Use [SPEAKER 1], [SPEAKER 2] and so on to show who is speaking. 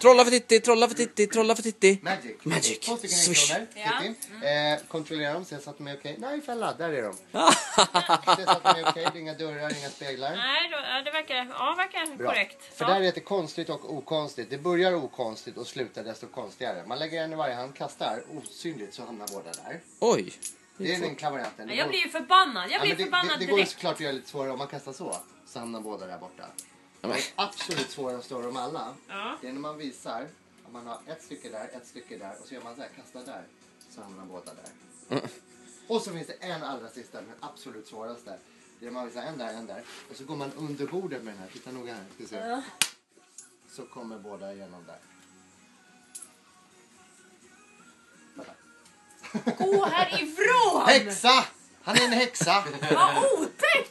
[SPEAKER 1] Trolla för Titti, trolla för Titti, trolla för Titti.
[SPEAKER 2] Magic.
[SPEAKER 1] Magic.
[SPEAKER 2] Två stycken
[SPEAKER 1] Swish.
[SPEAKER 2] elektroner.
[SPEAKER 3] Ja. Mm.
[SPEAKER 2] Titti. Eh, kontrollerar dem, ser så att de är okej. Nej, för jag laddar i dem. ser så att de är okej. Det är inga dörrar, inga speglar.
[SPEAKER 3] Nej, då, ja, det verkar, ja, verkar
[SPEAKER 2] Bra.
[SPEAKER 3] korrekt.
[SPEAKER 2] För
[SPEAKER 3] ja.
[SPEAKER 2] där heter konstigt och okonstigt. Det börjar okonstigt och slutar desto konstigare. Man lägger en i varje hand, kastar osynligt så hamnar båda där.
[SPEAKER 1] Oj.
[SPEAKER 2] Det är den klavianten.
[SPEAKER 3] Ja,
[SPEAKER 2] Det
[SPEAKER 3] Jag
[SPEAKER 2] går-
[SPEAKER 3] blir ju förbannad. Jag
[SPEAKER 2] Ja,
[SPEAKER 3] blir
[SPEAKER 2] men det,
[SPEAKER 3] förbannad
[SPEAKER 2] det, det går ju
[SPEAKER 3] direkt.
[SPEAKER 2] såklart att göra lite svårare om man kastar så. Så hamnar båda där borta.
[SPEAKER 1] Ja, men.
[SPEAKER 2] Det absolut svåraste av dem alla,
[SPEAKER 3] Ja.
[SPEAKER 2] det är när man visar om man har ett stycke där, ett stycke där och så gör man så här, kastar där, så hamnar båda där. Och så finns det en allra sista, den absolut svåraste. Det är när man visar en där, en där och så går man under bordet med den här. Titta noga här, ska vi se. Så kommer båda igenom där.
[SPEAKER 3] Gå härifrån!
[SPEAKER 2] Häxa! Han är en häxa!
[SPEAKER 3] Vad otäckt!